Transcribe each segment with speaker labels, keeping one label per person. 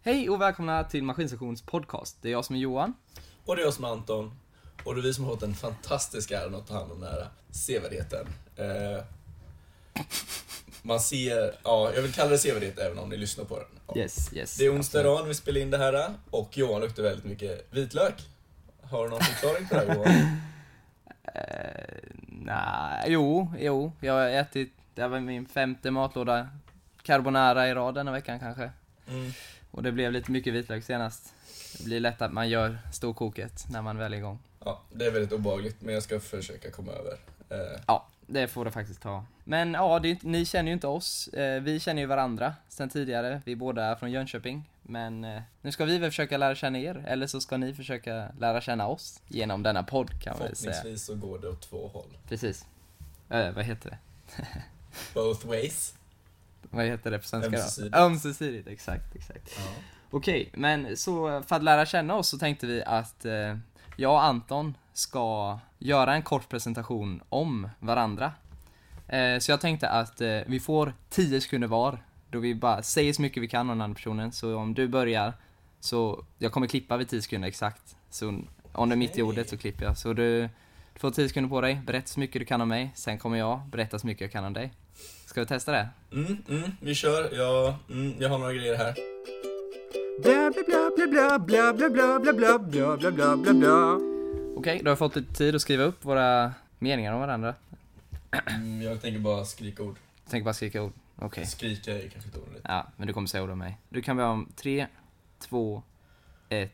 Speaker 1: Hej och välkomna till Maskinstations podcast. Det är jag som är Johan.
Speaker 2: Och det är jag som är Anton. Och det är vi som har fått den fantastiska äran att ta hand om den här sevärdheten. Eh, man ser, ja, jag vill kalla det sevärdhet även om ni lyssnar på den. Ja.
Speaker 1: Yes, yes.
Speaker 2: Det är onsdag morgon vi spelar in det här och Johan luktar väldigt mycket vitlök. Har du någon förklaring på det här Johan?
Speaker 1: Eh, Nej, jo, jo. Jag har ätit, det här var min femte matlåda carbonara i rad denna veckan kanske.
Speaker 2: Mm.
Speaker 1: Och det blev lite mycket vitlök senast. Det blir lätt att man gör storkoket när man väl är igång.
Speaker 2: Ja, det är väldigt obehagligt men jag ska försöka komma över. Eh,
Speaker 1: Ja, det får det faktiskt ta. Men ja, det, är inte- ni känner ju inte oss. Eh, Vi känner ju varandra sen tidigare. Vi är båda från Jönköping. Men eh, nu ska vi väl försöka lära känna er, eller så ska ni försöka lära känna oss genom denna podd kan man väl säga.
Speaker 2: förhoppningsvis så går det åt två håll.
Speaker 1: Precis. Eh, vad heter det?
Speaker 2: Both ways.
Speaker 1: Vad heter det på svenska
Speaker 2: Ömsesidigt.
Speaker 1: då? Ömsesidigt. exakt, exakt. Okej, men så för att lära känna oss så tänkte vi att eh, jag och Anton ska göra en kort presentation om varandra. Eh, så jag tänkte att eh, vi får 10 sekunder var, då vi bara säger så mycket vi kan om den andra personen. Så om du börjar, så jag kommer klippa vid 10 sekunder exakt. Så om du är mitt i
Speaker 2: Okej.
Speaker 1: ordet så klipper jag. Så du, du får 10 sekunder på dig, berätta så mycket du kan om mig, sen kommer jag berätta så mycket jag kan om dig. Ska vi testa det?
Speaker 2: Mm, mm, vi kör. Jag, mm, jag har några grejer här.
Speaker 3: Blah blah blah blah blah blah blah blah blah blah blah blah blah blah.
Speaker 1: Okej, då har vi fått lite tid att skriva upp våra meningar om varandra.
Speaker 2: Mm, jag tänker bara skrika ord.
Speaker 1: Jag tänker bara skrika ord. Okej.
Speaker 2: Skrika är kanske inte ordet.
Speaker 1: Ja, men du kommer säga ord om mig. Du kan börja om 3, 2, 1,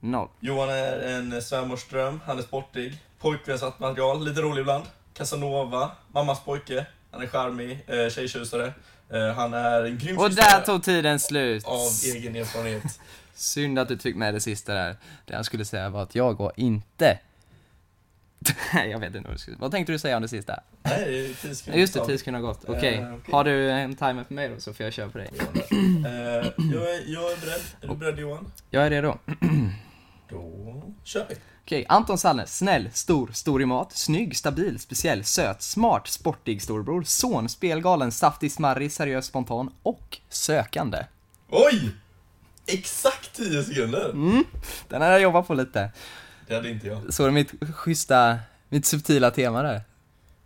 Speaker 1: 0.
Speaker 2: Johan är en svärmors dröm, han är sportig, pojkvänsat material, lite rolig ibland. Casanova, mammas pojke, han är charmig, eh, tjejtjusare. Eh, han är en grym
Speaker 1: Och
Speaker 2: kyssare
Speaker 1: där tog tiden slut!
Speaker 2: av egen erfarenhet.
Speaker 1: Synd att du fick med det sista där. Det han skulle säga var att jag går inte. Nej, jag vet inte vad du skulle... Vad tänkte du säga om det sista?
Speaker 2: Nej, det är tio sekunder.
Speaker 1: Just det, 10 sekunder har gått. Okej.
Speaker 2: Eh, okej.
Speaker 1: Har du en timer för mig då så får jag köra på dig.
Speaker 2: Eh, jag, är, jag är beredd. Är du beredd Johan?
Speaker 1: Jag är redo.
Speaker 2: Då kör vi.
Speaker 1: Okej, Anton Sallner, snäll, stor, stor i mat, snygg, stabil, speciell, söt, smart, sportig storbror, son, spelgalen, saftig, smarrig, seriös, spontan och sökande.
Speaker 2: Oj! Exakt 10 sekunder!
Speaker 1: Mm. Den har jag jobbat på lite.
Speaker 2: Det hade inte jag.
Speaker 1: Så det är mitt schyssta, mitt subtila tema där.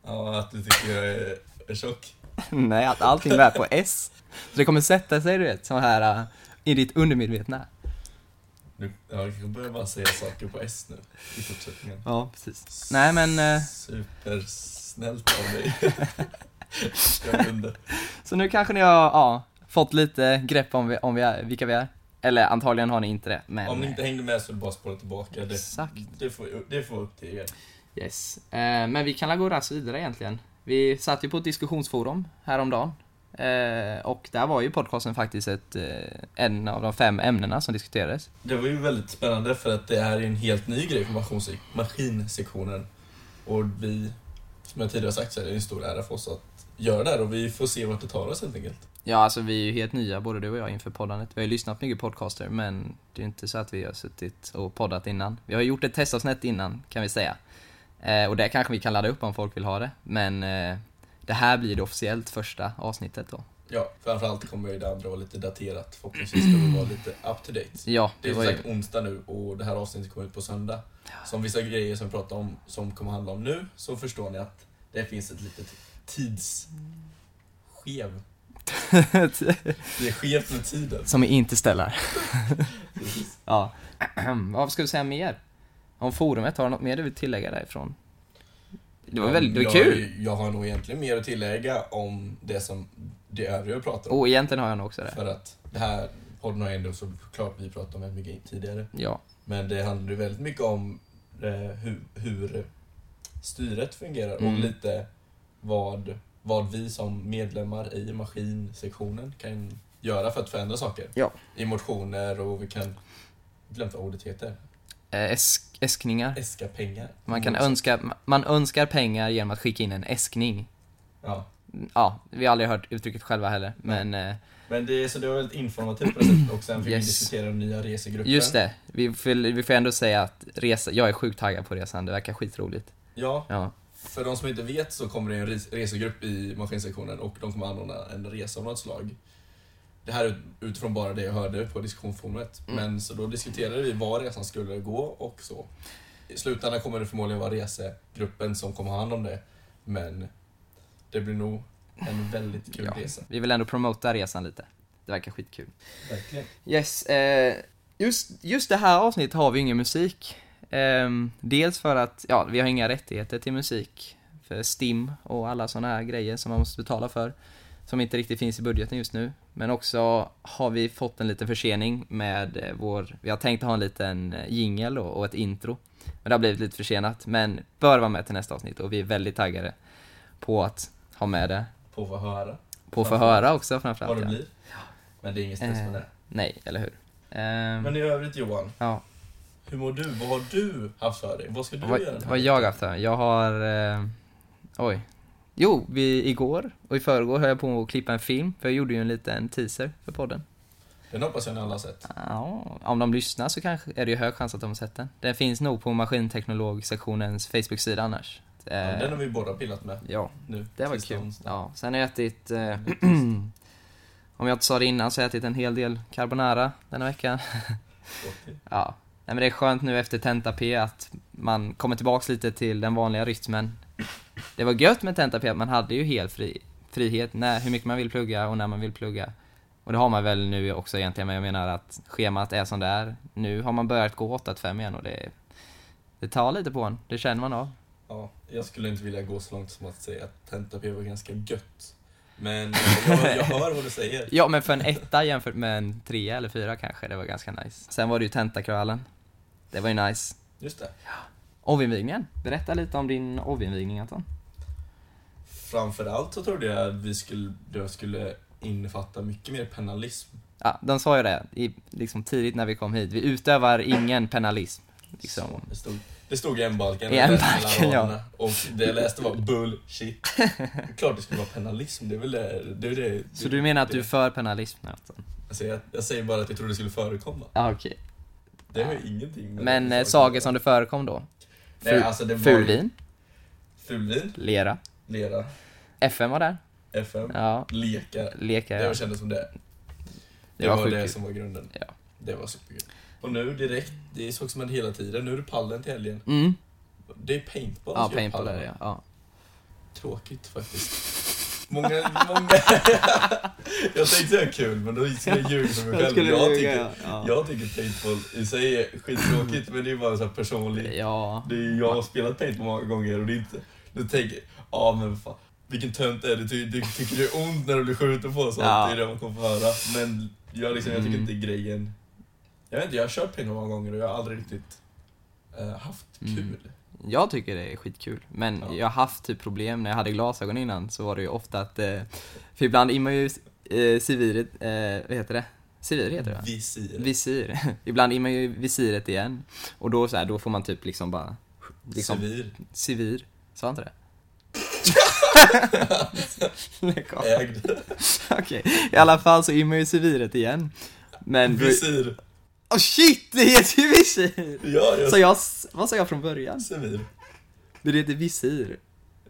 Speaker 2: Ja, att du tycker jag är, är tjock.
Speaker 1: Nej, att allting är på S. Så det kommer sätta sig, du vet, så här äh, i ditt undermedvetna.
Speaker 2: Nu, ja, jag börjar bara säga saker på S nu i fortsättningen.
Speaker 1: Ja, precis. Nej, men eh,
Speaker 2: Supersnällt av dig. jag kunde.
Speaker 1: så nu kanske ni har ja, fått lite grepp om, vi, om vi är, vilka vi är. Eller antagligen har ni inte det, men...
Speaker 2: Om ni inte hängde med så är det bara att spola tillbaka. Det,
Speaker 1: Exakt.
Speaker 2: det, får, det får upp till er.
Speaker 1: Yes. Eh, men vi kan väl gå raskt vidare egentligen. Vi satt ju på ett diskussionsforum häromdagen. Eh, och där var ju podcasten faktiskt ett, eh, en av de fem ämnena som diskuterades.
Speaker 2: Det var ju väldigt spännande för att det här är en helt ny grej för maskins- maskinsektionen. Och vi, som jag tidigare sagt så är det en stor ära för oss att göra det här och vi får se vart det tar oss helt enkelt.
Speaker 1: Ja, alltså vi är ju helt nya, både du och jag, inför poddandet. Vi har ju lyssnat på mycket podcaster, men det är ju inte så att vi har suttit och poddat innan. Vi har gjort ett testavsnitt innan, kan vi säga. Eh, och det kanske vi kan ladda upp om folk vill ha det, men eh, det här blir det officiellt första avsnittet då.
Speaker 2: Ja, framförallt kommer ju det andra vara lite daterat. Förhoppningsvis ska vi vara lite up to date.
Speaker 1: Ja,
Speaker 2: Det är som sagt onsdag nu och det här avsnittet kommer ut på söndag. Så om vissa grejer som vi pratar om som kommer handla om nu så förstår ni att det finns ett litet tidsskev. Det är skevt med tiden.
Speaker 1: Som vi inte ställer. ja. Vad ska vi säga mer? Om forumet, har du något mer du vill tillägga därifrån? Det var väldigt det var
Speaker 2: jag,
Speaker 1: kul!
Speaker 2: Jag har nog egentligen mer att tillägga om det som det övriga vi pratar om.
Speaker 1: Och egentligen har jag nog också det.
Speaker 2: För att det här podden har ändå såklart vi pratat om väldigt mycket tidigare.
Speaker 1: Ja.
Speaker 2: Men det handlar ju väldigt mycket om eh, hur, hur styret fungerar
Speaker 1: Mm.
Speaker 2: och lite vad, vad vi som medlemmar i maskinsektionen kan göra för att förändra saker.
Speaker 1: Ja.
Speaker 2: I motioner och vi kan glömt vad ordet heter.
Speaker 1: Eh, Äsk, äskningar.
Speaker 2: Äska pengar.
Speaker 1: Man kan
Speaker 2: Mm.
Speaker 1: önska, man önskar pengar genom att skicka in en äskning.
Speaker 2: Ja.
Speaker 1: Ja, vi har aldrig hört uttrycket själva heller, men eh,
Speaker 2: Men det, så det var väldigt informativt på det sättet och sen fick
Speaker 1: Yes.
Speaker 2: vi diskutera den nya resegruppen.
Speaker 1: just det. Vi får, vi får ändå säga att resa, jag är sjukt taggad på resan, det verkar skitroligt.
Speaker 2: Ja,
Speaker 1: Ja.
Speaker 2: För de som inte vet så kommer det en res- resegrupp i maskinsektionen och de kommer anordna en resa av något slag. Det här är utifrån bara det jag hörde på diskussionsforumet.
Speaker 1: Mm.
Speaker 2: Men så då diskuterade vi var resan skulle gå och så. I slutändan kommer det förmodligen vara resegruppen som kommer ha hand om det. Men det blir nog en väldigt kul
Speaker 1: Ja.
Speaker 2: resa.
Speaker 1: Vi vill ändå promota resan lite. Det verkar skitkul.
Speaker 2: Verkligen.
Speaker 1: Yes, eh, just, just det här avsnittet har vi ingen musik. Ehm, dels för att ja, vi har inga rättigheter till musik för STIM och alla sådana här grejer som man måste betala för som inte riktigt finns i budgeten just nu. Men också har vi fått en liten försening med eh, vår, vi har tänkt ha en liten eh, jingel och, och ett intro. Men det har blivit lite försenat, men bör vara med till nästa avsnitt och vi är väldigt taggade på att ha med det.
Speaker 2: På att få höra
Speaker 1: På att få
Speaker 2: Framförallt.
Speaker 1: höra också
Speaker 2: vad
Speaker 1: framförallt.
Speaker 2: det
Speaker 1: ja.
Speaker 2: blir. Men det är ingen stress med
Speaker 1: Eh,
Speaker 2: det.
Speaker 1: Nej, eller hur? Ehm,
Speaker 2: Men i övrigt Johan,
Speaker 1: ja.
Speaker 2: hur mår du? Vad har du haft för dig? Vad ska du
Speaker 1: Vad,
Speaker 2: göra? den här
Speaker 1: vad jag haft här? Jag har... Eh, oj. Jo, vi, igår och i förrgår höll jag på att klippa en film, för jag gjorde ju en liten teaser för podden.
Speaker 2: veckan? Den hoppas jag ni alla har sett.
Speaker 1: Ja, om de lyssnar så kanske är det ju hög chans att de har sett den. Den finns nog på maskinteknologsektionens Facebook-sida annars. Eh,
Speaker 2: Ja, den har vi båda pillat med
Speaker 1: ja,
Speaker 2: nu.
Speaker 1: det var
Speaker 2: tills
Speaker 1: kul.
Speaker 2: onsdag.
Speaker 1: Ja, sen har jag ätit... Eh, om jag inte sa det innan så har jag ätit en hel del carbonara denna veckan.
Speaker 2: Och-
Speaker 1: Ja. Nej, men det är skönt nu efter tenta-P att man kommer tillbaks lite till den vanliga rytmen. Det var gött med tenta-P att man hade ju hel fri, frihet när, hur mycket man vill plugga och när man vill plugga. Och det har man väl nu också egentligen, men jag menar att schemat är som det är. Nu har man börjat gå 8 till 5 igen och det, det tar lite på en, det känner man av.
Speaker 2: Ja, jag skulle inte vilja gå så långt som att säga att tenta-p var ganska gött. Men jag, jag hör vad du säger.
Speaker 1: Ja, men för en etta jämfört med en trea eller fyra kanske, det var ganska nice. Sen var det ju tentakvällen. Det var ju nice.
Speaker 2: Just det.
Speaker 1: Ovinvigningen, berätta lite om din ovinvigning Anton.
Speaker 2: Framförallt så trodde jag att vi skulle, det skulle innefatta mycket mer penalism.
Speaker 1: Ja, de sa ju det i, liksom tidigt när vi kom hit. Vi utövar ingen penalism. Liksom.
Speaker 2: Det stod, det stod i M-balken.
Speaker 1: I
Speaker 2: jag läste
Speaker 1: M-balken,
Speaker 2: mellan raderna. Och det jag läste var bullshit. Det är klart det skulle vara penalism. Det är väl det. det, är det
Speaker 1: Så du menar att du är för penalism? Alltså?
Speaker 2: Alltså jag, jag säger bara att jag trodde det skulle förekomma.
Speaker 1: Ja, okej.
Speaker 2: Det har ju ingenting med
Speaker 1: Men
Speaker 2: det
Speaker 1: eh, sagor som det förekom då?
Speaker 2: Nej, alltså det var
Speaker 1: Fulvin,
Speaker 2: Fulvin,
Speaker 1: lera,
Speaker 2: lera,
Speaker 1: FM var där.
Speaker 2: FM,
Speaker 1: Ja,
Speaker 2: lekar.
Speaker 1: lekar.
Speaker 2: Det var
Speaker 1: Det,
Speaker 2: kändes som det. Det,
Speaker 1: var,
Speaker 2: var,
Speaker 1: sjukt.
Speaker 2: det
Speaker 1: kul.
Speaker 2: som var grunden.
Speaker 1: Ja.
Speaker 2: Det var superkul. Och nu direkt, det är saker som händer hela tiden. Nu är det pallen till helgen.
Speaker 1: Mm.
Speaker 2: Det är paintball
Speaker 1: Ja,
Speaker 2: som gör
Speaker 1: paintball är
Speaker 2: pallen.
Speaker 1: det ja. ja.
Speaker 2: Tråkigt faktiskt. Många, många... jag tänkte det var kul, men då skulle jag ljuga för mig själv. Jag tycker,
Speaker 1: ja.
Speaker 2: jag tycker paintball i sig är skittråkigt, men det är bara så här personligt.
Speaker 1: Ja.
Speaker 2: Det är, ju- jag har spelat paintball många gånger och det är inte... Du tänker, ja men vad fan. Vilken tönt är du? Ty, du tycker det är ont när du blir skjuten på och sånt.
Speaker 1: Ja. Mm.
Speaker 2: Det är det man kommer få höra. Men jag, liksom, jag tycker inte grejen... Jag vet inte, jag har kört paintball många gånger och jag har aldrig riktigt eh, haft kul.
Speaker 1: Mm. Jag tycker det är skitkul, men
Speaker 2: Ja.
Speaker 1: jag har haft typ problem när jag hade glasögon innan så var det ju ofta att, eh, för ibland immar ju eh, civiret, eh, vad heter det? Civir heter det va?
Speaker 2: Visir.
Speaker 1: Visir. Ibland är man ju i visiret igen. Och då så här, då får man typ liksom bara... Liksom,
Speaker 2: Civil.
Speaker 1: civir. Sa jag inte det? Lägg av.
Speaker 2: Ägd.
Speaker 1: Okej, i alla fall så är man ju i civiret igen. Men... då-
Speaker 2: Visir.
Speaker 1: Åh shit, det heter ju visir!
Speaker 2: Ja, jag
Speaker 1: Så jag, s- vad sa jag från början?
Speaker 2: Civil.
Speaker 1: Det heter visir.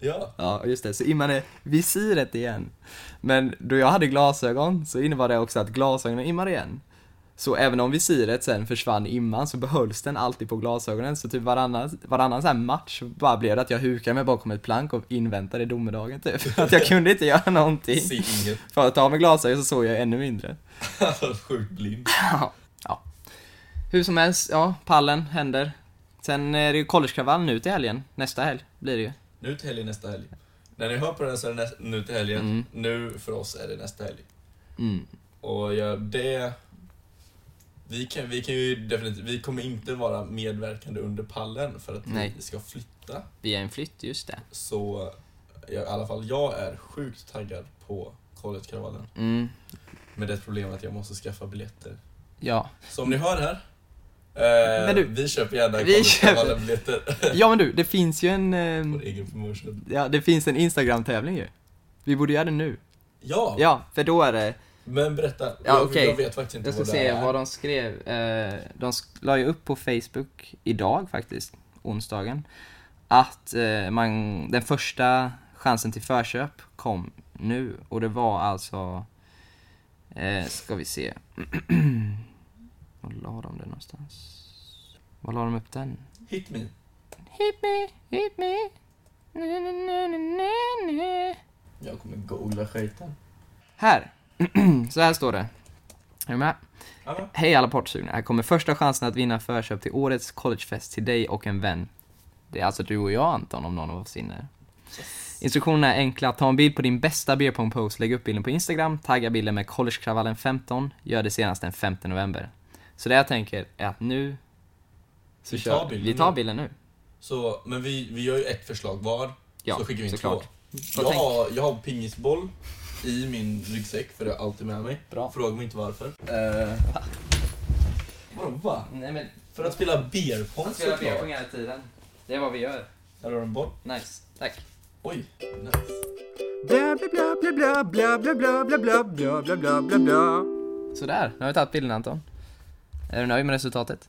Speaker 2: Ja.
Speaker 1: Ja, just det. Så är man i visiret igen. Men då jag hade glasögon så innebar det också att glasögonen immar igen. Så även om visiret sen försvann imman så behölls den alltid på glasögonen. Så typ varannan, varannan så här match bara blev det att jag hukade mig bakom ett plank och inväntade domedagen typ. Att jag kunde inte göra någonting.
Speaker 2: Se inget.
Speaker 1: För att ta av mig glasögon så såg jag ännu mindre.
Speaker 2: Sjukt blind.
Speaker 1: Ja. ja. Hur som helst, ja, pallen händer. Sen är det ju collegekravall nu till helgen. Nästa helg blir det ju.
Speaker 2: Nu till helgen nästa helg. När ni hör på den så är det nä- nu till helgen.
Speaker 1: Mm.
Speaker 2: Nu för oss är det nästa helg.
Speaker 1: Mm.
Speaker 2: Och ja, det... Vi, kan, vi, kan ju definitivt, vi kommer inte vara medverkande under pallen för att
Speaker 1: Nej.
Speaker 2: vi ska flytta.
Speaker 1: Vi är en flytt, just det.
Speaker 2: Så jag, i alla fall jag är sjukt taggad på collegekravallen.
Speaker 1: Mm.
Speaker 2: Med det problemet att jag måste skaffa biljetter.
Speaker 1: Ja.
Speaker 2: Så om ni hör här. Eh,
Speaker 1: Men du-
Speaker 2: vi köper gärna
Speaker 1: Vi köper-
Speaker 2: collegekravallen-biljetter.
Speaker 1: Ja men du, det finns ju en... eh,
Speaker 2: Vår egen promotion.
Speaker 1: Ja, det finns en Instagram-tävling ju. Vi borde göra det nu.
Speaker 2: Ja,
Speaker 1: Ja, för då är det...
Speaker 2: men berätta.
Speaker 1: Ja,
Speaker 2: jag,
Speaker 1: okej.
Speaker 2: jag vet faktiskt inte
Speaker 1: Jag ska
Speaker 2: vad
Speaker 1: se
Speaker 2: det är.
Speaker 1: vad de skrev. Eh, De sk- la ju upp på Facebook idag faktiskt, onsdagen, att eh, man, den första chansen till förköp kom nu och det var alltså Eh, ska vi se. Var la de det någonstans? Var la de upp den?
Speaker 2: Hit me.
Speaker 1: Hit me, hit me. Na, na, na, na, na, na.
Speaker 2: Jag kommer googla skiten.
Speaker 1: Här! Så här står det. Är du med?
Speaker 2: Ja.
Speaker 1: Hej alla partsugna. Här kommer första chansen att vinna förköp till årets collegefest till dig och en vän. Det är alltså du och jag Anton, om någon av oss vinner. Instruktionerna är enkla. Ta en bild på din bästa beer pong post lägg upp bilden på Instagram, tagga bilden med collegekravallen15, gör det senast den 5 november. Så det jag tänker är att nu... Så
Speaker 2: Vi
Speaker 1: kör
Speaker 2: tar
Speaker 1: vi.
Speaker 2: bilden
Speaker 1: vi tar
Speaker 2: nu.
Speaker 1: bilden nu.
Speaker 2: Så, men vi, vi gör ju ett förslag var.
Speaker 1: Ja,
Speaker 2: så skickar vi in
Speaker 1: såklart.
Speaker 2: två.
Speaker 1: Så
Speaker 2: Jag
Speaker 1: tänk.
Speaker 2: har, jag har pingisboll i min ryggsäck för det är alltid med mig.
Speaker 1: Bra.
Speaker 2: Fråga mig inte varför. Eh, vadå va?
Speaker 1: Nej men,
Speaker 2: För att spela beer pong
Speaker 1: att spela
Speaker 2: såklart.
Speaker 1: beer pong hela tiden. Det är vad vi gör.
Speaker 2: Där har du en boll.
Speaker 1: Nice, tack.
Speaker 2: Oj, nice.
Speaker 3: Bla bla bla bla bla bla bla bla bla bla bla bla bla bla.
Speaker 1: Sådär, nu har vi tagit bilden Anton. Är du nöjd med resultatet?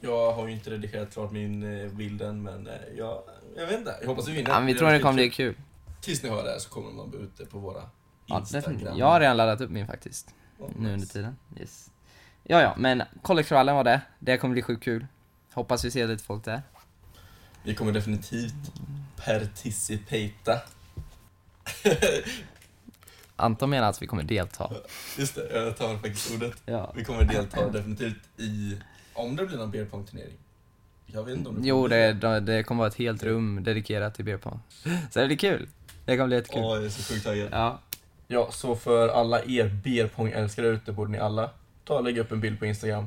Speaker 2: Jag har ju inte redigerat klart min eh, bilden men eh, jag, jag vet inte. Jag hoppas vi vinner.
Speaker 1: Ja, men vi
Speaker 2: är
Speaker 1: tror det
Speaker 2: riktigt
Speaker 1: kommer bli
Speaker 2: kul.
Speaker 1: kul.
Speaker 2: Tills ni hör det här så kommer man bli ute på våra
Speaker 1: Ja,
Speaker 2: Instagram.
Speaker 1: definitivt. jag har redan laddat upp min faktiskt,
Speaker 2: Ja,
Speaker 1: nu under
Speaker 2: nice.
Speaker 1: tiden. Yes. Ja, ja, men kollektivalen var det. Det kommer bli sjukt kul. Hoppas vi ser lite folk där.
Speaker 2: Vi kommer definitivt participata.
Speaker 1: Anton menar att vi kommer delta.
Speaker 2: Just det, jag tar faktiskt ordet.
Speaker 1: Ja.
Speaker 2: Vi kommer delta definitivt i, om det blir någon beer pong turnering. Jag vet inte om det
Speaker 1: Jo,
Speaker 2: kommer
Speaker 1: det, det kommer vara ett helt rum dedikerat till beerpong. Så det blir kul. Det kommer bli
Speaker 2: bli.
Speaker 1: jättekul.
Speaker 2: Åh, jag är så sjukt taggad.
Speaker 1: Ja.
Speaker 2: Ja, så för alla er beerpong-älskare ute borde ni alla ta och lägga upp en bild på Instagram.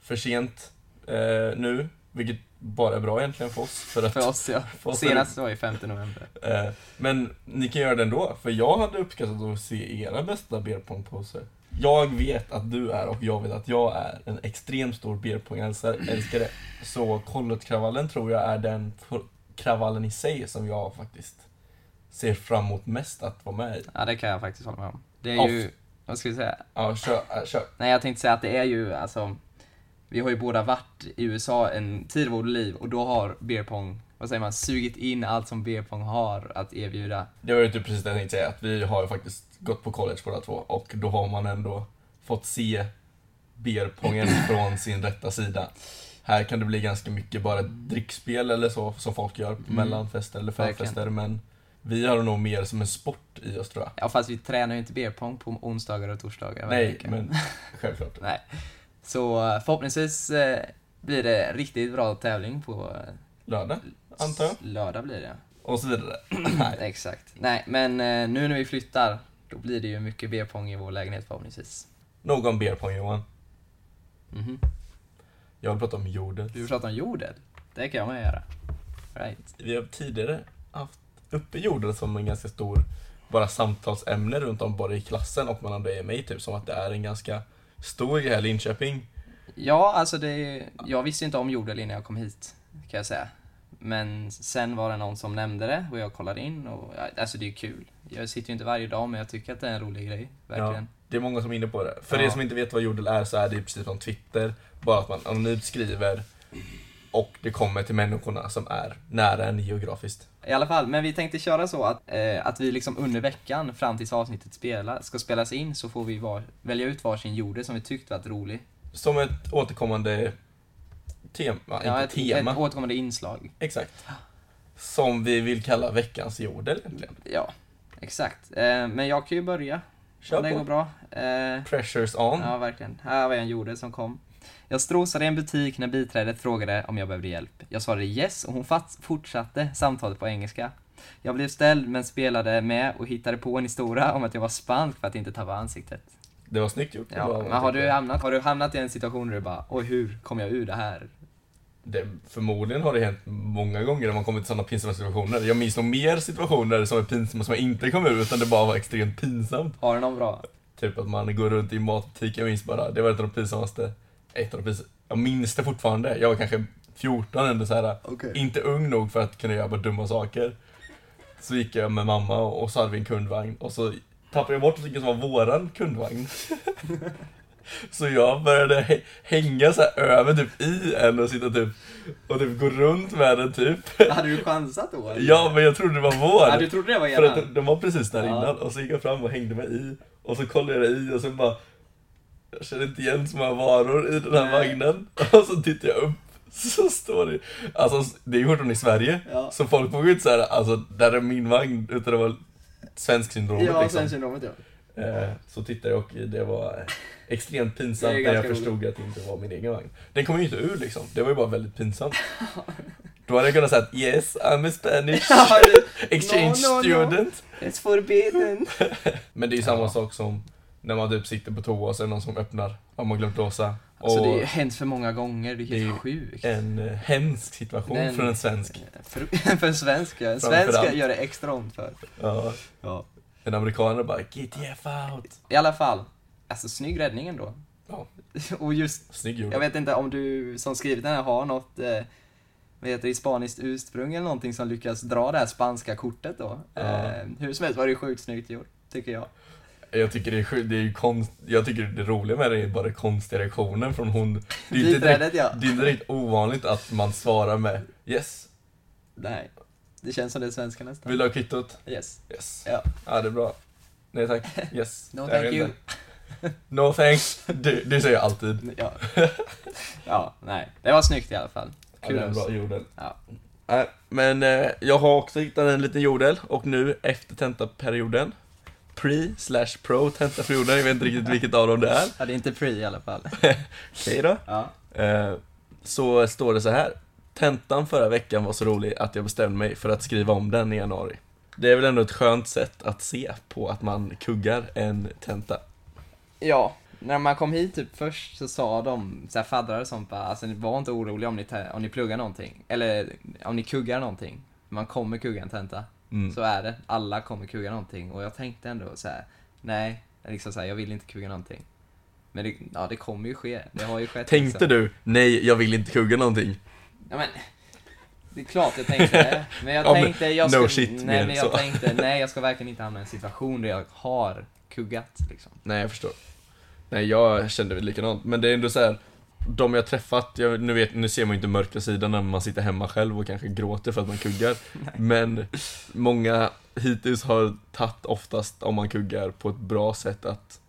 Speaker 2: För sent eh, nu, vilket bara är bra egentligen för oss. För att,
Speaker 1: För oss ja.
Speaker 2: för oss är det-
Speaker 1: Senast var ju 5 november.
Speaker 2: Eh, men ni kan göra det ändå, för jag hade uppskattat att se era bästa beerpongposer. Jag vet att du är och jag vet att jag är en extremt stor beerpongälskare. Så Kollet-kravallen tror jag är den pro- kravallen i sig som jag faktiskt ser fram emot mest att vara med i.
Speaker 1: Ja, det kan jag faktiskt hålla med om. Det är
Speaker 2: Off.
Speaker 1: ju, vad ska vi säga?
Speaker 2: Ja, kör, äh, kör.
Speaker 1: Nej, jag tänkte säga att det är ju alltså, vi har ju båda varit i USA en tid av vårt liv och då har beerpong, vad säger man, sugit in allt som beerpong har att erbjuda.
Speaker 2: Det var ju typ precis det jag tänkte säga, att vi har ju faktiskt gått på college båda två och då har man ändå fått se beerpongen från sin rätta sida. Här kan det bli ganska mycket bara ett drickspel eller så, som folk gör mellan fester eller förfester, men vi har nog mer som en sport i oss tror jag.
Speaker 1: Ja, fast vi tränar ju inte beerpong på onsdagar och torsdagar varje
Speaker 2: Nej,
Speaker 1: vecka.
Speaker 2: men självklart.
Speaker 1: Nej. Så eh, förhoppningsvis eh, blir det riktigt bra tävling på eh,
Speaker 2: Lördag, antar jag.
Speaker 1: lördag blir det.
Speaker 2: Och så vidare. Nej.
Speaker 1: Exakt. Nej, men eh, nu när vi flyttar, då blir det ju mycket beerpong i vår lägenhet förhoppningsvis.
Speaker 2: Någon beerpong Johan.
Speaker 1: Mhm.
Speaker 2: Jag vill prata om jorden.
Speaker 1: Du pratar om jorden. Det kan jag med göra. Right.
Speaker 2: Vi har tidigare haft uppe jorden som en ganska stor bara samtalsämne runt om både i klassen och mellan dig och mig, typ som att det är en ganska stor grej här i Linköping.
Speaker 1: Ja, alltså det, jag visste inte om jordel innan jag kom hit, kan jag säga. Men sen var det någon som nämnde det och jag kollade in och ja, alltså det är kul. Jag sitter ju inte varje dag men jag tycker att det är en rolig grej, verkligen.
Speaker 2: Det är många som är inne på det. För
Speaker 1: Ja.
Speaker 2: er som inte vet vad jordel är så är det ju precis som Twitter, bara att man anonymt skriver och det kommer till människorna som är nära en geografiskt.
Speaker 1: I alla fall, men vi tänkte köra så att, eh, att vi liksom under veckan fram tills avsnittet spela, ska spelas in så får vi var, välja ut varsin jordel som vi tyckte var rolig.
Speaker 2: Som ett återkommande tema, ja, inte
Speaker 1: ett,
Speaker 2: tema,
Speaker 1: ett återkommande inslag.
Speaker 2: exakt. Som vi vill kalla veckans jordel egentligen.
Speaker 1: Ja, exakt. Eh, men jag kan ju börja,
Speaker 2: Kör
Speaker 1: om det
Speaker 2: på.
Speaker 1: går bra. Eh,
Speaker 2: Pressures on.
Speaker 1: Ja, verkligen. Här var en jorde som kom. Jag strosade i en butik när biträdet frågade om jag behövde hjälp. Jag svarade yes och hon fat- fortsatte samtalet på engelska. Jag blev ställd men spelade med och hittade på en historia om att jag var spansk för att inte tappa ansiktet.
Speaker 2: Det var snyggt gjort. Det
Speaker 1: Ja,
Speaker 2: var-
Speaker 1: men har du, hamnat, har du hamnat i en situation där du bara oj hur kom jag ur det här?
Speaker 2: det, förmodligen har det hänt många gånger när man kommit till sådana pinsamma situationer. Jag minns nog mer situationer som är pinsamma som jag inte kom ur utan det bara var extremt pinsamt.
Speaker 1: Har du någon bra?
Speaker 2: Typ att man går runt i en matbutik, jag minns bara, det var ett av de pinsammaste. Ett av de pinsammaste. Jag minns det fortfarande. Jag var kanske 14 ändå så här. Inte ung nog för att kunna göra bara dumma saker. Så gick jag med mamma och, och så hade vi en kundvagn och så tappade jag bort vilken som var våran kundvagn. så jag började hä- hänga så här över typ i en och sitta typ och typ gå runt med den typ.
Speaker 1: Hade du chansat då? eller?
Speaker 2: ja men jag trodde det var
Speaker 1: ja,
Speaker 2: vår.
Speaker 1: du trodde det var
Speaker 2: för att
Speaker 1: eran?
Speaker 2: de- de var precis där
Speaker 1: Ja.
Speaker 2: innan och så gick jag fram och hängde mig i. Och så kollade jag i och sen bara... Jag känner inte igen så många varor i den här
Speaker 1: Nej.
Speaker 2: vagnen. Och så tittar jag upp. Så står det... Alltså, det är ju hårt om i Sverige.
Speaker 1: Ja.
Speaker 2: Så folk vågar ju inte säga alltså, där är min vagn. Utan det var svensk syndromet
Speaker 1: Ja,
Speaker 2: liksom.
Speaker 1: sen syndromet ja.
Speaker 2: Eh, Så tittade jag och det var extremt pinsamt
Speaker 1: Det är
Speaker 2: när jag
Speaker 1: ganska
Speaker 2: förstod att det inte var min egen vagn. Den kom ju inte ur liksom, det var ju bara väldigt pinsamt. Då hade jag kunnat säga att yes, I'm a Spanish
Speaker 1: Ja, det-
Speaker 2: exchange
Speaker 1: No, no, no.
Speaker 2: student.
Speaker 1: It's forbidden.
Speaker 2: Men det är ju samma sak som när man typ sitter på toa och så är det någon som öppnar om man glömt låsa.
Speaker 1: Alltså
Speaker 2: och
Speaker 1: det har ju hänt för många gånger, det är helt
Speaker 2: Det är ju
Speaker 1: sjukt.
Speaker 2: en eh, hemsk situation
Speaker 1: Den-
Speaker 2: för en svensk.
Speaker 1: För, för en svensk ja. En
Speaker 2: Framförallt.
Speaker 1: svensk gör det extra ont för.
Speaker 2: Ja.
Speaker 1: Ja.
Speaker 2: En amerikaner bara get the F out.
Speaker 1: I alla fall, alltså snygg räddning ändå.
Speaker 2: Ja.
Speaker 1: Och just,
Speaker 2: Snygg gjord.
Speaker 1: jag vet inte om du som skrivit den här har något, eh, vad heter det, spaniskt ursprung eller någonting som lyckas dra det här spanska kortet då.
Speaker 2: Ja.
Speaker 1: Eh, hur som helst var det sjukt snyggt gjort, tycker jag.
Speaker 2: Jag tycker det är, sjuk- det är ju konst, jag tycker det roliga med det är bara konstiga reaktionen från hon. Det är ju inte direkt,
Speaker 1: Biträdet ja.
Speaker 2: det är inte direkt ovanligt att man svarar med yes,
Speaker 1: Nej. Det känns som det är svenska nästan.
Speaker 2: vill du ha kvittot?
Speaker 1: Yes.
Speaker 2: Yes.
Speaker 1: Ja.
Speaker 2: Ja, det är bra. Nej tack, yes.
Speaker 1: No
Speaker 2: Jag
Speaker 1: thank
Speaker 2: vet
Speaker 1: you.
Speaker 2: inte. No thanks. Du, du säger jag alltid.
Speaker 1: Ja. ja, nej. Det var snyggt i alla fall.
Speaker 2: Ja, det är en
Speaker 1: Kudos.
Speaker 2: bra jordel.
Speaker 1: Ja.
Speaker 2: Nej, men eh, jag har också hittat en liten jordel och nu efter tentaperioden, pre slash pro tentaperioden, jag vet inte riktigt vilket av dem det är.
Speaker 1: Ja, det är inte pre i alla fall.
Speaker 2: Okej då.
Speaker 1: Ja.
Speaker 2: Eh, så står det så här. Tentan förra veckan var så rolig att jag bestämde mig för att skriva om den i januari. Det är väl ändå ett skönt sätt att se på att man kuggar en tenta.
Speaker 1: ja, när man kom hit typ först så sa de, så här faddrar och sånt bara, alltså ni var inte oroliga om ni, te- om ni pluggar någonting. Eller om ni kuggar någonting. Man kommer kugga en tenta.
Speaker 2: Mm.
Speaker 1: Så är det. Alla kommer kugga någonting. Och jag tänkte ändå så här, nej, liksom så här, jag vill inte kugga någonting. Men det, ja, det kommer ju ske. Det har ju skett.
Speaker 2: Tänkte
Speaker 1: liksom.
Speaker 2: du, nej jag vill inte kugga någonting?
Speaker 1: Ja, men, det är klart jag tänkte det. Men jag
Speaker 2: Ja, men
Speaker 1: tänkte, jag
Speaker 2: no
Speaker 1: ska,
Speaker 2: shit mer
Speaker 1: nej, men
Speaker 2: så.
Speaker 1: jag tänkte, nej jag ska verkligen inte hamna i en situation där jag har kuggat liksom.
Speaker 2: Nej jag förstår. Nej jag kände väl likadant, men det är ändå så här. De jag träffat, jag, nu, vet, nu ser man ju inte mörka sidan när man sitter hemma själv och kanske gråter för att man kuggar. Men många hittills har tagit oftast, om man kuggar, på ett bra sätt att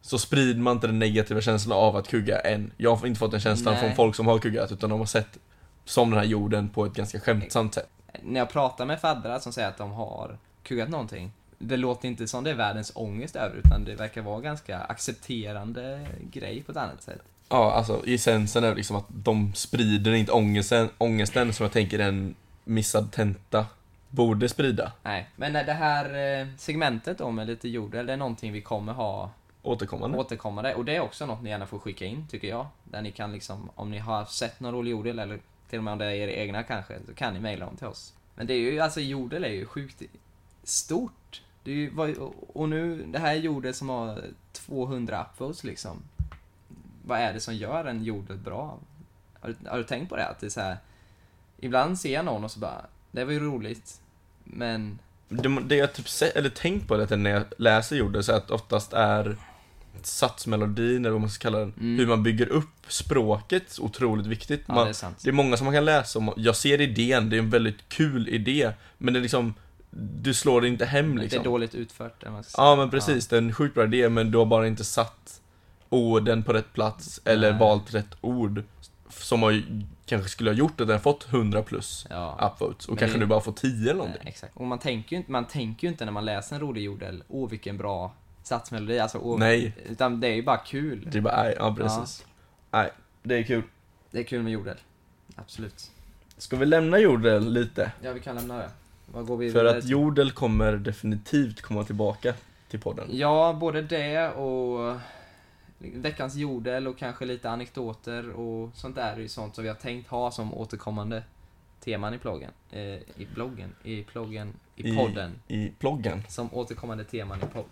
Speaker 2: så sprider man inte den negativa känslan av att kugga än. Jag har inte fått den känslan
Speaker 1: Nej.
Speaker 2: från folk som har kuggat, utan de har sett som den här jorden på ett ganska skämtsamt sätt.
Speaker 1: När jag pratar med faddrar som säger att de har kuggat någonting, det låter inte som det är världens ångest över utan det verkar vara ganska accepterande grej på ett annat sätt.
Speaker 2: Ja, alltså essensen är liksom att de sprider inte ångesten, ångesten som jag tänker en missad tenta borde sprida.
Speaker 1: Nej, men det här eh, segmentet då med lite jordel, det är någonting vi kommer ha
Speaker 2: Återkommande.
Speaker 1: återkommande. Och det är också något ni gärna får skicka in, tycker jag. Där ni kan liksom, om ni har sett någon rolig jordel, eller till och med om det är era egna kanske, så kan ni mejla dem till oss. Men det är ju, alltså jordel är ju sjukt stort. Det är ju, vad- och nu, det här är jordel som har 200 upvotes liksom. Vad är det som gör en jordel bra? Har du, har du tänkt på det? Att det är så här, ibland ser jag någon och så bara, det var ju roligt, men
Speaker 2: Det, det jag typ se, eller tänkt på det när jag läser jorden så att oftast är satsmelodin eller vad man ska kalla den,
Speaker 1: Mm.
Speaker 2: hur man bygger upp språket otroligt viktigt.
Speaker 1: ja,
Speaker 2: Man,
Speaker 1: det är sant.
Speaker 2: Det är många som man kan läsa om. Jag ser idén, det är en väldigt kul idé. Men det är liksom, du slår det inte hem
Speaker 1: Det
Speaker 2: liksom.
Speaker 1: är dåligt utfört, eller vad man ska säga.
Speaker 2: Ja men precis, det är en sjukt bra idé men du har bara inte satt orden på rätt plats eller
Speaker 1: Nej.
Speaker 2: valt rätt ord. Som har, ju- kanske skulle ha gjort att den har fått 100 plus
Speaker 1: Ja.
Speaker 2: upvotes. Och
Speaker 1: Men
Speaker 2: kanske
Speaker 1: det-
Speaker 2: du bara får 10 eller någonting.
Speaker 1: Nej, exakt. Och man tänker, ju inte, man tänker ju inte när man läser en rolig jordel, åh vilken bra satsmelodi, alltså, åh,
Speaker 2: Nej.
Speaker 1: utan det är ju bara kul.
Speaker 2: Det är bara, nej, ja precis. Nej, det är kul.
Speaker 1: Det är kul med jordel. Absolut.
Speaker 2: Ska vi lämna jordel lite?
Speaker 1: Ja, vi kan lämna det. Vad går vi
Speaker 2: För
Speaker 1: vidare
Speaker 2: att
Speaker 1: till?
Speaker 2: jordel kommer definitivt komma tillbaka till podden.
Speaker 1: Ja, både det och veckans jordel och kanske lite anekdoter och sånt där är ju sånt som vi har tänkt ha som återkommande teman i bloggen. Eh, I bloggen? I ploggen? I podden?
Speaker 2: I bloggen.
Speaker 1: Som återkommande teman i podden.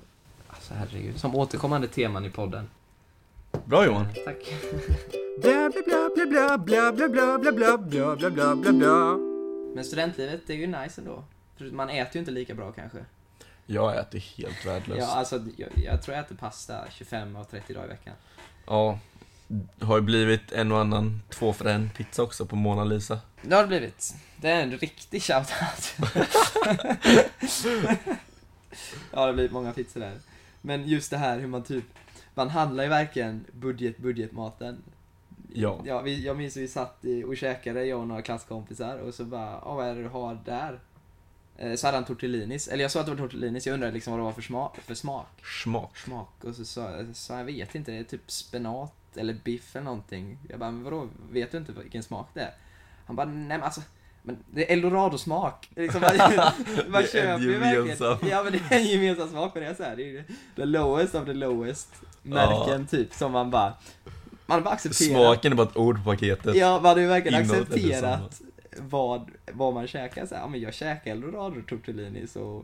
Speaker 1: Alltså herregud. Som återkommande teman i podden.
Speaker 2: Bra Johan.
Speaker 1: Tack.
Speaker 3: Bla bla bla bla bla bla bla bla bla bla bla bla bla bla.
Speaker 1: Men studentlivet, det är ju nice ändå. För Man äter ju inte lika bra kanske.
Speaker 2: Jag äter helt värdelöst.
Speaker 1: Ja, alltså, jag, jag tror jag äter pasta 25 av 30 dagar i veckan.
Speaker 2: Ja. Har ju blivit en och annan två för en pizza också på Mona Lisa.
Speaker 1: Det har det blivit. Det är en riktig shoutout. ja, det har blivit många pizzor där. Men just det här hur man typ, man handlar ju verkligen budget, budgetmaten.
Speaker 2: Ja.
Speaker 1: Ja, vi, jag minns vi satt i, och käkade, jag och några klasskompisar och så bara, "Ah, vad är det du har där? Eh, Så hade han tortellinis, eller jag sa att det var tortellinis, jag undrade liksom vad det var för smak. För smak.
Speaker 2: Smak.
Speaker 1: smak och så sa så jag vet inte, det är typ spenat eller biff eller någonting. Jag bara, men vadå, vet du inte vilken smak det är? Han bara, nej men alltså, men det är eldorado-smak. Liksom, man, man
Speaker 2: en
Speaker 1: köper ju
Speaker 2: gemensam.
Speaker 1: verkligen. Ja men det är en gemensam smak på det. är Så här, det är ju the lowest of the lowest märken typ som man bara, man bara accepterar.
Speaker 2: Smaken är bara ett ord på paketet.
Speaker 1: Ja, man hade ju verkligen
Speaker 2: Innehållet är
Speaker 1: accepterat vad, vad man käkar. Så här, ja, men jag käkar eldorado tortellini så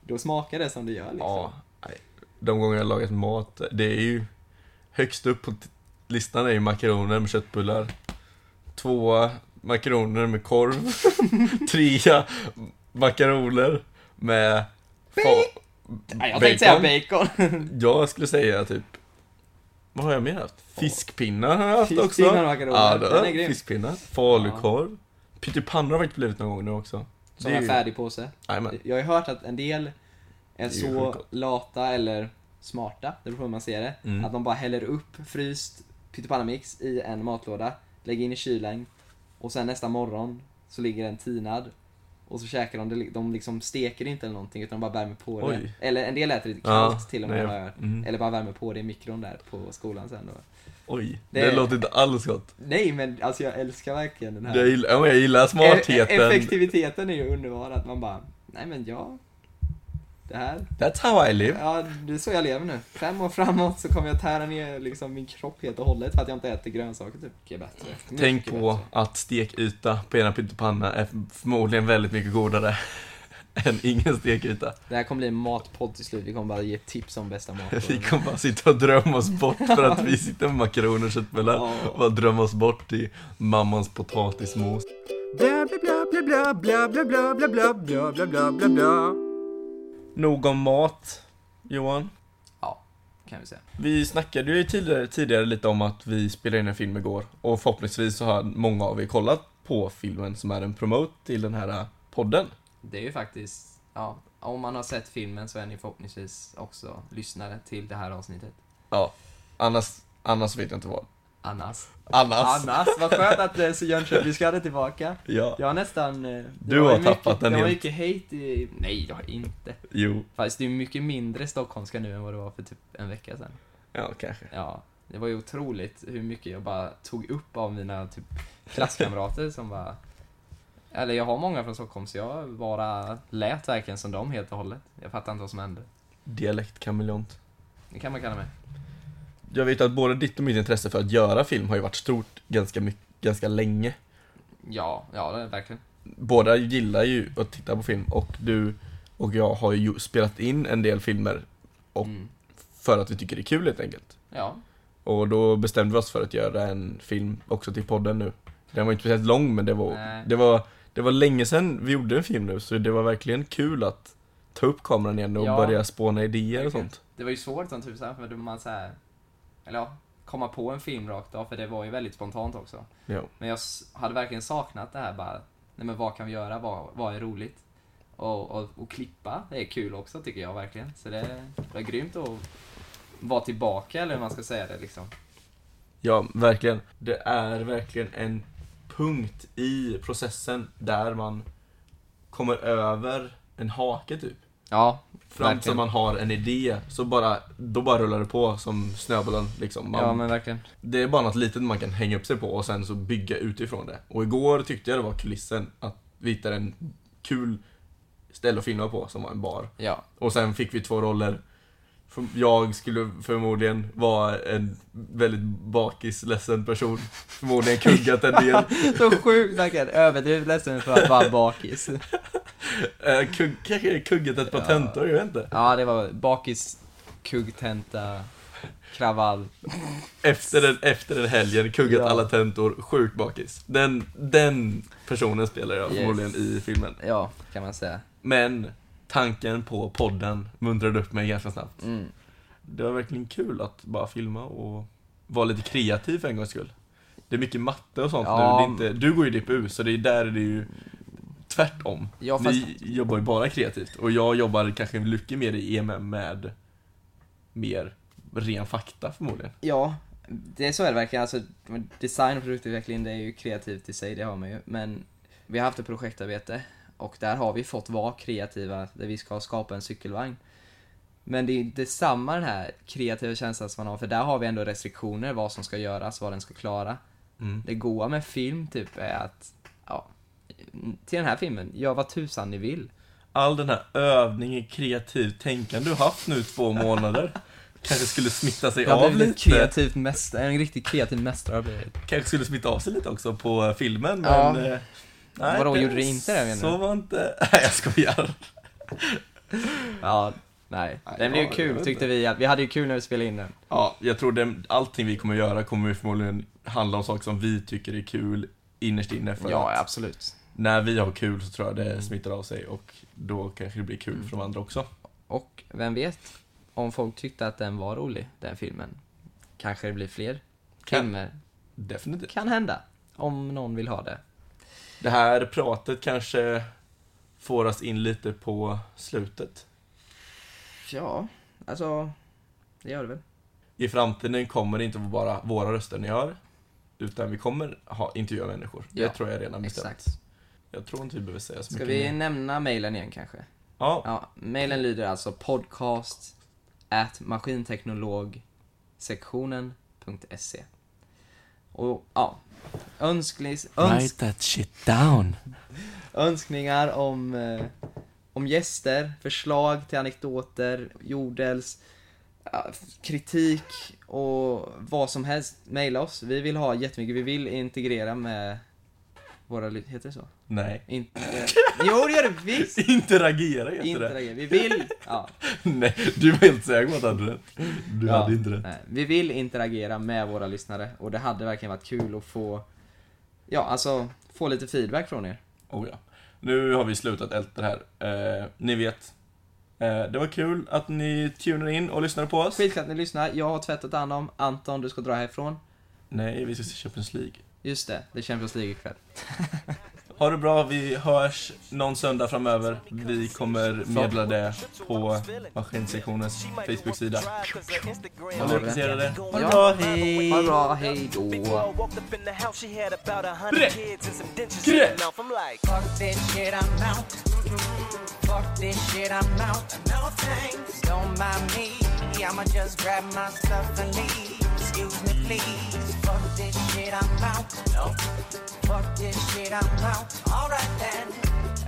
Speaker 1: då smakar det som det gör liksom.
Speaker 2: Ja, nej. de gånger jag har lagat mat, det är ju högst upp på t- listan är ju makaroner med köttbullar. Tvåa, makaroner med korv. Trea, makaroner med... Fa-
Speaker 1: Nej, jag tänkte säga bacon.
Speaker 2: Jag skulle säga typ... Vad har jag mer haft? Fiskpinnar har jag haft också.
Speaker 1: Fiskpinnar och makaroner.
Speaker 2: Ja, det har
Speaker 1: Den
Speaker 2: jag.
Speaker 1: är grym.
Speaker 2: Fiskpinnar. Falukorv. Pyttipannor har faktiskt blivit någon gång nu också.
Speaker 1: Som
Speaker 2: Det är
Speaker 1: en
Speaker 2: ju-
Speaker 1: färdig påse.
Speaker 2: Jajamän.
Speaker 1: Jag har ju hört att en del är
Speaker 2: är ju
Speaker 1: så
Speaker 2: sjukt.
Speaker 1: lata eller smarta, det beror på hur man ser det,
Speaker 2: Mm.
Speaker 1: att de bara häller upp fryst pyttipannamix i en matlåda, lägger in i kylen och sen nästa morgon så ligger den tinad och så käkar de det, de liksom steker det inte eller någonting utan de bara värmer på
Speaker 2: Oj.
Speaker 1: det. Eller en del äter det kallt till och med,
Speaker 2: nej,
Speaker 1: har jag hört.
Speaker 2: mm.
Speaker 1: eller bara värmer på det i mikron där på skolan sen. Då.
Speaker 2: Oj, det,
Speaker 1: Det är-
Speaker 2: låter inte alls gott.
Speaker 1: Nej men alltså jag älskar verkligen den här
Speaker 2: Jag gillar, ja, men jag gillar smartheten.
Speaker 1: E- Effektiviteten är ju underbar, att man bara, nej men ja, det här,
Speaker 2: That's how I live.
Speaker 1: ja det är så jag lever nu. Fem år framåt så kommer jag tära ner liksom min kropp helt och hållet för att jag inte äter grönsaker typ. Mycket bättre. Mycket
Speaker 2: Tänk på
Speaker 1: bättre.
Speaker 2: att stekyta på ena pyttipanna är förmodligen väldigt mycket godare än ingen stekyta.
Speaker 1: Det här kommer bli en matpodd till slut, vi kommer bara ge tips om bästa mat.
Speaker 2: Vi kommer bara sitta och drömma oss bort för att vi sitter med makaroner och köttbullar och bara drömma oss bort i mammans potatismos.
Speaker 3: Bla bla bla bla bla bla bla bla bla bla bla bla bla bla.
Speaker 2: Nog om mat, Johan.
Speaker 1: Ja, kan vi säga.
Speaker 2: Vi snackade ju tidigare, tidigare lite om att vi spelade in en film igår och förhoppningsvis så har många av er kollat på filmen som är en promote till den här äh, podden.
Speaker 1: Det är ju faktiskt, ja, om man har sett filmen så är ni förhoppningsvis också lyssnare till det här avsnittet.
Speaker 2: Ja, annars, annars vet jag inte vad.
Speaker 1: Annars.
Speaker 2: Annars.
Speaker 1: Annars, vad skönt att det är så Jönköpingskadde tillbaka.
Speaker 2: Ja.
Speaker 1: Jag har nästan... eh, det
Speaker 2: Du
Speaker 1: var
Speaker 2: har
Speaker 1: ju mycket,
Speaker 2: tappat den
Speaker 1: Det var
Speaker 2: helt.
Speaker 1: mycket hate i... Nej, jag har inte.
Speaker 2: Jo.
Speaker 1: Fast det är mycket mindre stockholmska nu än vad det var för typ en vecka sedan.
Speaker 2: Ja, kanske.
Speaker 1: Ja, det var ju otroligt hur mycket jag bara tog upp av mina typ klasskamrater som bara... Eller jag har många från Stockholm så jag bara lät verkligen som dem helt och hållet. Jag fattar inte vad som hände.
Speaker 2: Dialektkameleont.
Speaker 1: Det kan man kalla mig.
Speaker 2: Jag vet att både ditt och mitt intresse för att göra film har ju varit stort ganska mycket ganska länge.
Speaker 1: Ja, ja det är verkligen.
Speaker 2: Båda gillar ju att titta på film och du och jag har ju spelat in en del filmer Och-
Speaker 1: Mm.
Speaker 2: för att vi tycker det är kul helt enkelt.
Speaker 1: Ja,
Speaker 2: Och då bestämde vi oss för att göra en film också till podden nu. Den var inte speciellt lång men det var,
Speaker 1: Nej.
Speaker 2: det var, det var länge sedan vi gjorde en film nu så det var verkligen kul att ta upp kameran igen och
Speaker 1: Ja.
Speaker 2: börja spåna idéer och
Speaker 1: Verkligen.
Speaker 2: sånt.
Speaker 1: Det var ju svårt som tusan för då man så här, eller ja, komma på en film rakt av för det var ju väldigt spontant också.
Speaker 2: Ja.
Speaker 1: Men jag s- hade verkligen saknat det här bara, nej men vad kan vi göra, vad, vad är roligt? Och, och, och klippa, det är kul också tycker jag verkligen. Så det, det är grymt att vara tillbaka eller hur man ska säga det liksom.
Speaker 2: Ja, verkligen. Det är verkligen en punkt i processen där man kommer över en hake typ.
Speaker 1: Ja,
Speaker 2: Fram till
Speaker 1: Verkligen.
Speaker 2: man har en idé, så bara, då bara rullar det på som snöbollen liksom. Man,
Speaker 1: ja men verkligen.
Speaker 2: Det är bara något litet man kan hänga upp sig på och sen så bygga utifrån det. Och igår tyckte jag det var kulissen att vi hittade en kul ställe att filma på som var en bar.
Speaker 1: Ja,
Speaker 2: Och sen fick vi två roller. För- Jag skulle förmodligen vara en väldigt bakisledsen person. Förmodligen kuggat en del.
Speaker 1: så sjukt verkligen. Överdrivet ledsen för att vara bakis.
Speaker 2: Eh, Kugg, kanske kuggat ett par
Speaker 1: Ja.
Speaker 2: tentor, jag vet inte.
Speaker 1: Ja, det var bakis, kuggtenta, kravall.
Speaker 2: Efter den, efter den helgen, kuggat
Speaker 1: Ja.
Speaker 2: alla tentor, sjukt bakis. Den, den personen spelar jag
Speaker 1: Yes.
Speaker 2: förmodligen i filmen.
Speaker 1: Ja, kan man säga.
Speaker 2: Men tanken på podden muntrade upp mig ganska snabbt.
Speaker 1: Mm.
Speaker 2: Det var verkligen kul att bara filma och vara lite kreativ för en gångs skull. Det är mycket matte och sånt
Speaker 1: Ja.
Speaker 2: nu. Det är inte, du går ju DPU, så det är där det är ju tvärtom.
Speaker 1: Ja, fast-
Speaker 2: Ni jobbar ju bara kreativt och jag jobbar kanske mycket mer i EMM E med mer ren fakta förmodligen.
Speaker 1: Ja, det är så är det verkligen. Alltså, design och produktutveckling det är ju kreativt i sig, det har man ju. Men vi har haft ett projektarbete och där har vi fått vara kreativa där vi ska skapa en cykelvagn. Men det är inte samma den här kreativa känslan som man har för där har vi ändå restriktioner vad som ska göras, vad den ska klara.
Speaker 2: Mm.
Speaker 1: Det goa med film typ är att, ja, till den här filmen, gör vad tusan ni vill.
Speaker 2: All den här övningen kreativt tänkande du haft nu i två månader kanske skulle smitta sig
Speaker 1: Jag har
Speaker 2: av
Speaker 1: blivit ett
Speaker 2: lite.
Speaker 1: kreativt mästare, en riktig kreativ mästare har jag blivit.
Speaker 2: Kanske skulle smitta av sig lite också på filmen
Speaker 1: Ja.
Speaker 2: men... eh,
Speaker 1: Vadå, gjorde det inte det, menar
Speaker 2: Så
Speaker 1: du?
Speaker 2: var inte... Nej jag skojar.
Speaker 1: Ja, nej.
Speaker 2: Nej,
Speaker 1: Den blev ju
Speaker 2: ja, jag
Speaker 1: kul
Speaker 2: vet
Speaker 1: tyckte
Speaker 2: inte.
Speaker 1: vi. Vi hade ju kul när vi spelade in den.
Speaker 2: Ja, jag tror det, allting vi kommer göra kommer ju förmodligen handla om saker som vi tycker är kul innerst inne för
Speaker 1: Ja, Mm.
Speaker 2: att
Speaker 1: absolut.
Speaker 2: när vi har kul så tror jag det smittar av sig och då kanske det blir kul
Speaker 1: Mm.
Speaker 2: för de andra också.
Speaker 1: Och vem vet, om folk tyckte att den var rolig, den filmen, kanske det blir fler
Speaker 2: Kan-
Speaker 1: filmer.
Speaker 2: Definitivt.
Speaker 1: Kan hända, om någon vill ha det.
Speaker 2: Det här pratet kanske får oss in lite på slutet.
Speaker 1: Ja, alltså, det gör det väl.
Speaker 2: I framtiden kommer det inte vara bara våra röster ni hör, utan vi kommer ha intervjua människor.
Speaker 1: Ja,
Speaker 2: det tror jag redan bestämt.
Speaker 1: Exakt.
Speaker 2: Jag tror inte vi behöver säga så
Speaker 1: Ska
Speaker 2: mycket
Speaker 1: vi
Speaker 2: mer.
Speaker 1: nämna mejlen igen kanske?
Speaker 2: Ja,
Speaker 1: Ja, mejlen lyder alltså podcast at maskinteknologsektionen.se Och ja, önsklis, öns
Speaker 2: that shit down.
Speaker 1: önskningar om, eh, om gäster, förslag till anekdoter, jordels, ja, kritik och vad som helst. Mejla oss. Vi vill ha jättemycket. Vi vill integrera med våra... ly- Heter det så?
Speaker 2: Nej.
Speaker 1: In eh, jo, det gör det visst!
Speaker 2: Interagera heter det.
Speaker 1: Interagera. Vi vill... Ja.
Speaker 2: Nej, du var helt säker på att du hade rätt. Du
Speaker 1: Ja.
Speaker 2: hade inte rätt.
Speaker 1: Nej, Vi vill interagera med våra lyssnare och det hade verkligen varit kul att få, ja alltså, få lite feedback från er.
Speaker 2: Oh, ja. Nu har vi slutat älta det här. Eh, ni vet. Eh, det var kul att ni tunade in och lyssnade på oss.
Speaker 1: Skitkul att ni lyssnar, jag har tvättat hand om, Anton du ska dra härifrån.
Speaker 2: Nej, vi ska se Champions League.
Speaker 1: Just det, det är Champions League ikväll.
Speaker 2: Ha det bra, vi hörs någon söndag framöver. Vi kommer meddela det på Maskinsektionens Facebook-sida. Om ni är intresserade. Ha det bra, hej!
Speaker 1: Ha det bra, hej då!
Speaker 2: Bre! Bre!
Speaker 4: Fuck this shit, I'm out. Mm-hmm. Fuck this shit, I'm out. No thanks. Don't mind me. I'ma just grab my stuff and leave. Excuse me, please. Fuck this shit, I'm out. No. Fuck this shit, I'm out. Alright then.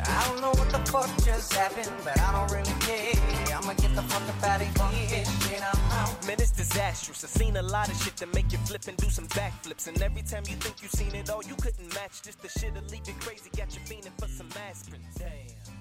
Speaker 4: I don't know what the fuck just happened, but I don't really care. I'ma get the fuck up out of here. Fuck this shit, I'm out.
Speaker 5: Man, it's disastrous. I've seen a lot of shit to make you flip and do some backflips. And every time you think you've seen it all, you couldn't match this. The shit'll leave you crazy. Got you fiending for some aspirin. Damn.